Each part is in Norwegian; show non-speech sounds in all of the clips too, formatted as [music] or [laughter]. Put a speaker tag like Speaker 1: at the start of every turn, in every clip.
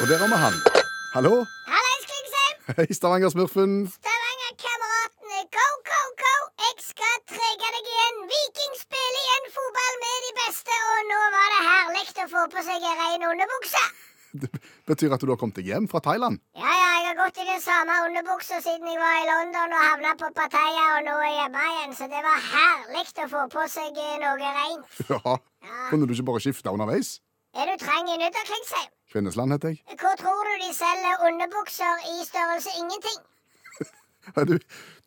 Speaker 1: Og der har vi han. Hallo?
Speaker 2: Hallais, Klingsheim!
Speaker 1: Hei, Stavanger-smurfen.
Speaker 2: Stavanger-kameratene, go, go, go! Jeg skal trege deg igjen. Viking spiller igjen fotball med de beste, og nå var det herlig å få på seg en ren underbukse.
Speaker 1: Det betyr at du har kommet deg hjem fra Thailand.
Speaker 2: Ja, ja, jeg har gått i den samme underbuksa siden jeg var i London og havna på Pattaya, og nå er jeg hjemme igjen, så det var herlig å få på seg eh, noe rent.
Speaker 1: Ja. Kunne du ikke bare skifte underveis?
Speaker 2: Er du trang i nytt, Klingsheim?
Speaker 1: Kvinnesland heter jeg.
Speaker 2: Hvor tror du de selger underbukser i størrelse ingenting?
Speaker 1: Ja, Du,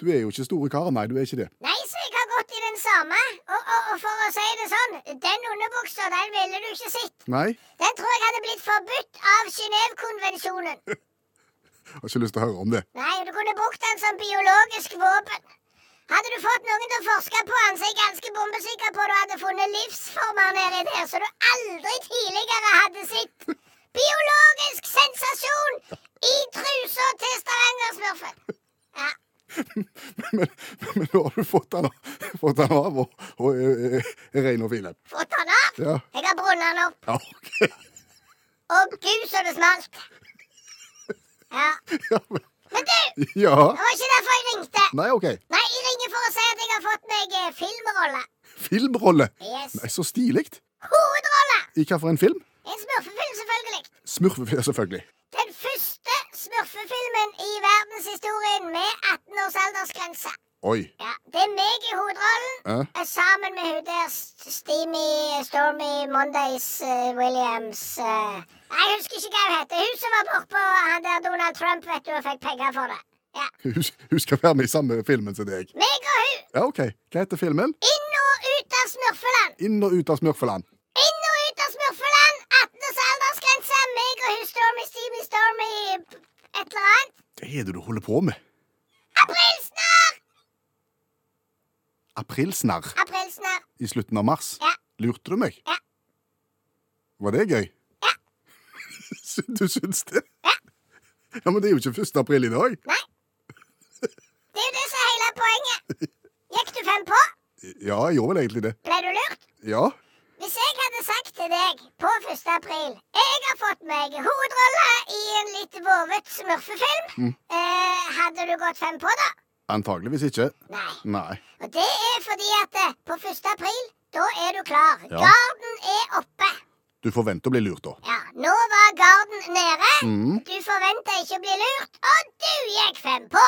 Speaker 1: du er jo ikke store karen. Nei, du er ikke det.
Speaker 2: Nei, så jeg har gått i den samme. Og, og, og for å si det sånn, den underbuksa, den ville du ikke sett.
Speaker 1: Nei?
Speaker 2: Den tror jeg hadde blitt forbudt av Genévekonvensjonen.
Speaker 1: Har ikke lyst til å høre om det.
Speaker 2: Nei, du kunne brukt den som biologisk våpen. Hadde du fått noen til å forske på den, så er jeg ganske bombesikker på at du hadde funnet livsformer nedi der som du aldri tidligere hadde sett. Biologisk sensasjon i trusa til Stavanger-smurfen. Ja.
Speaker 1: Men, men nå har du fått han, fått han av og, og er, er, er ren og fin.
Speaker 2: Fått den av?
Speaker 1: Ja.
Speaker 2: Jeg har brunnet den opp.
Speaker 1: Ja, ok.
Speaker 2: Og gud, så det smalt. Ja.
Speaker 1: Ja, men,
Speaker 2: Men du, det
Speaker 1: ja.
Speaker 2: var ikke derfor jeg ringte.
Speaker 1: Nei, OK.
Speaker 2: Nei, jeg ringer for å si at jeg har fått meg eh, filmrolle.
Speaker 1: Filmrolle.
Speaker 2: Yes.
Speaker 1: Nei, så stilig.
Speaker 2: Hovedrolle!
Speaker 1: I hvilken film?
Speaker 2: En smurfefilm, selvfølgelig.
Speaker 1: Smurfefilm, selvfølgelig.
Speaker 2: Den første smurfefilmen i verdenshistorien med 18 års aldersgrense.
Speaker 1: Oi.
Speaker 2: Ja, Det er meg i hovedrollen
Speaker 1: Ja.
Speaker 2: eh, sammen med hun der S- Steamy Stormy Mondays eh, Williams eh. Nei, Jeg husker ikke hva hun heter. Hun som var bortpå han der Donald Trump, vet du, og fikk penger for det. Ja.
Speaker 1: Hun, hun skal være med i samme filmen som deg.
Speaker 2: Meg og hun
Speaker 1: Ja, OK. Hva heter filmen?
Speaker 2: inn og ut av Smurfeland.
Speaker 1: Inn og ut av Smurfeland.
Speaker 2: Inn og ut av Smurfeland. 18 års aldersgrense. Meg og hun Stormy Steamy Stormy p- et eller annet.
Speaker 1: Det er det du holder på med.
Speaker 2: Aprilsnarr!
Speaker 1: Aprilsnarr
Speaker 2: Aprilsnarr.
Speaker 1: i slutten av mars.
Speaker 2: Ja.
Speaker 1: Lurte du meg?
Speaker 2: Ja.
Speaker 1: Var det gøy?
Speaker 2: Ja.
Speaker 1: [laughs] Sy- du syns det?
Speaker 2: Ja.
Speaker 1: Ja, Men det er jo ikke 1. april i dag.
Speaker 2: Nei. Det er jo det som er hele poenget. Gikk du fem på?
Speaker 1: Ja, jeg gjorde vel egentlig det.
Speaker 2: Ble du lurt?
Speaker 1: Ja.
Speaker 2: Hvis jeg hadde sagt til deg på 1. april Jeg har fått meg hovedrolle i en litt vovet smurfefilm, eh, hadde du gått fem på da?
Speaker 1: Antageligvis ikke.
Speaker 2: Nei.
Speaker 1: Nei.
Speaker 2: Og det er fordi at eh, på 1. april, da er du klar.
Speaker 1: Ja.
Speaker 2: Garden er oppe.
Speaker 1: Du forventer å bli lurt, da.
Speaker 2: Ja, nå var garden nede.
Speaker 1: Mm.
Speaker 2: Du forventa ikke å bli lurt, og du gikk fem på.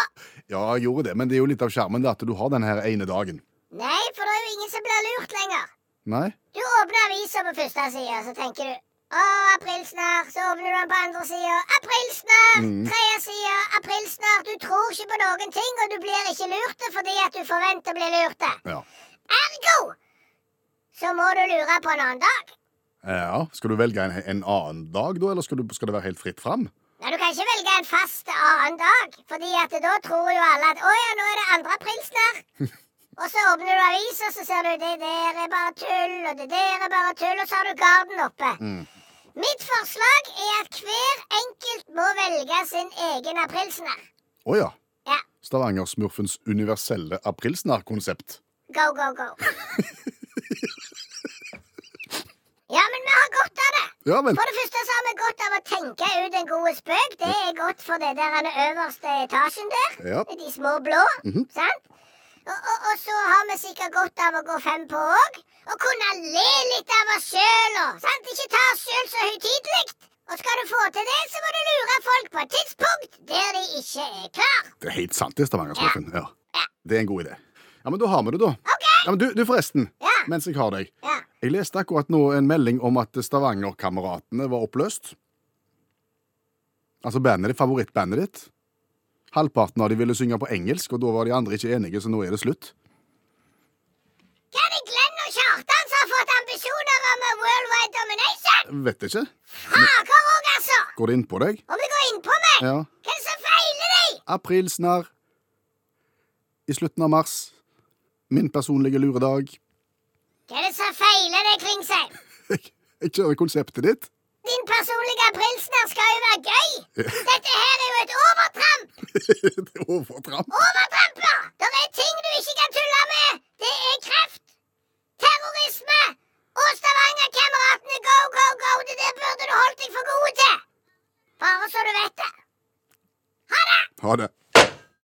Speaker 1: Ja, jeg gjorde det, men det er jo litt av skjermen det at du har den her ene dagen.
Speaker 2: Nei, for det er jo ingen som blir lurt lenger.
Speaker 1: Nei?
Speaker 2: Du åpner avisa på første sida, så tenker du å, aprilsnarr. Så åpner du den på andre sida. Aprilsnarr.
Speaker 1: Mm.
Speaker 2: Tredje side. Aprilsnarr. Du tror ikke på noen ting, og du blir ikke lurt fordi at du forventer å bli lurt.
Speaker 1: Ja.
Speaker 2: Ergo så må du lure på en annen dag.
Speaker 1: ja. Skal du velge en, en annen dag, da, eller skal, du, skal det være helt fritt fram?
Speaker 2: Nei, Du kan ikke velge en fast annen dag, Fordi at da tror jo alle at 'Å ja, nå er det 2. april snart'. og så åpner du avisa, så ser du 'Det der er bare tull', og 'Det der er bare tull', og så har du garden oppe.
Speaker 1: Mm.
Speaker 2: Mitt forslag er at hver enkelt må velge sin egen aprilsnarr.
Speaker 1: Å ja.
Speaker 2: Ja.
Speaker 1: Stavanger-smurfens universelle aprilsnarr-konsept.
Speaker 2: Go, go, go. ja, men vi har godt av det.
Speaker 1: Ja vel.
Speaker 2: For det første så har vi godt av å tenke ut en god spøk. Det er godt for det der den øverste etasjen der.
Speaker 1: Ja.
Speaker 2: De små blå. Sant? Og, og, og så har vi sikkert godt av å gå fem på òg. Og kunne le litt av oss sjøl og sant? Ikke ta oss sjøl så høytidelig. Og skal du få til det, så må du lure folk på et tidspunkt der de ikke er klar.
Speaker 1: Det er helt sant, det, Stavanger-smurfen. Ja.
Speaker 2: Ja.
Speaker 1: Det er en god idé. Ja, men da har vi det, da.
Speaker 2: OK?
Speaker 1: Ja, men du, du forresten.
Speaker 2: Ja.
Speaker 1: Mens jeg har deg.
Speaker 2: Ja.
Speaker 1: Jeg leste akkurat nå en melding om at Stavanger-kameratene var oppløst. Altså bandet ditt, favorittbandet ditt. Halvparten av de ville synge på engelsk, og da var de andre ikke enige, så nå er det slutt.
Speaker 2: Hva er det Glenn og Kjartan som har fått ambisjoner om worldwide domination?
Speaker 1: Vet ikke.
Speaker 2: Fager òg, altså!
Speaker 1: Går det inn på deg?
Speaker 2: Om det går inn på meg!
Speaker 1: Ja.
Speaker 2: Hva er det som feiler deg?
Speaker 1: April snar. I slutten av mars. Min personlige luredag. [laughs]
Speaker 2: Hva er det som feiler deg, Klingsheim?
Speaker 1: Jeg, jeg kjører konseptet ditt. [laughs]
Speaker 2: Din personlige aprilsnarr skal jo være gøy! Dette her er jo et overtramp!
Speaker 1: det er overtramp.
Speaker 2: Overtramper! Det er ting du ikke kan tulle med! Det er kreft, terrorisme og Stavanger-kameratene go, go, go! Det der burde du holdt deg for gode til! Bare så du vet det.
Speaker 1: Ha det.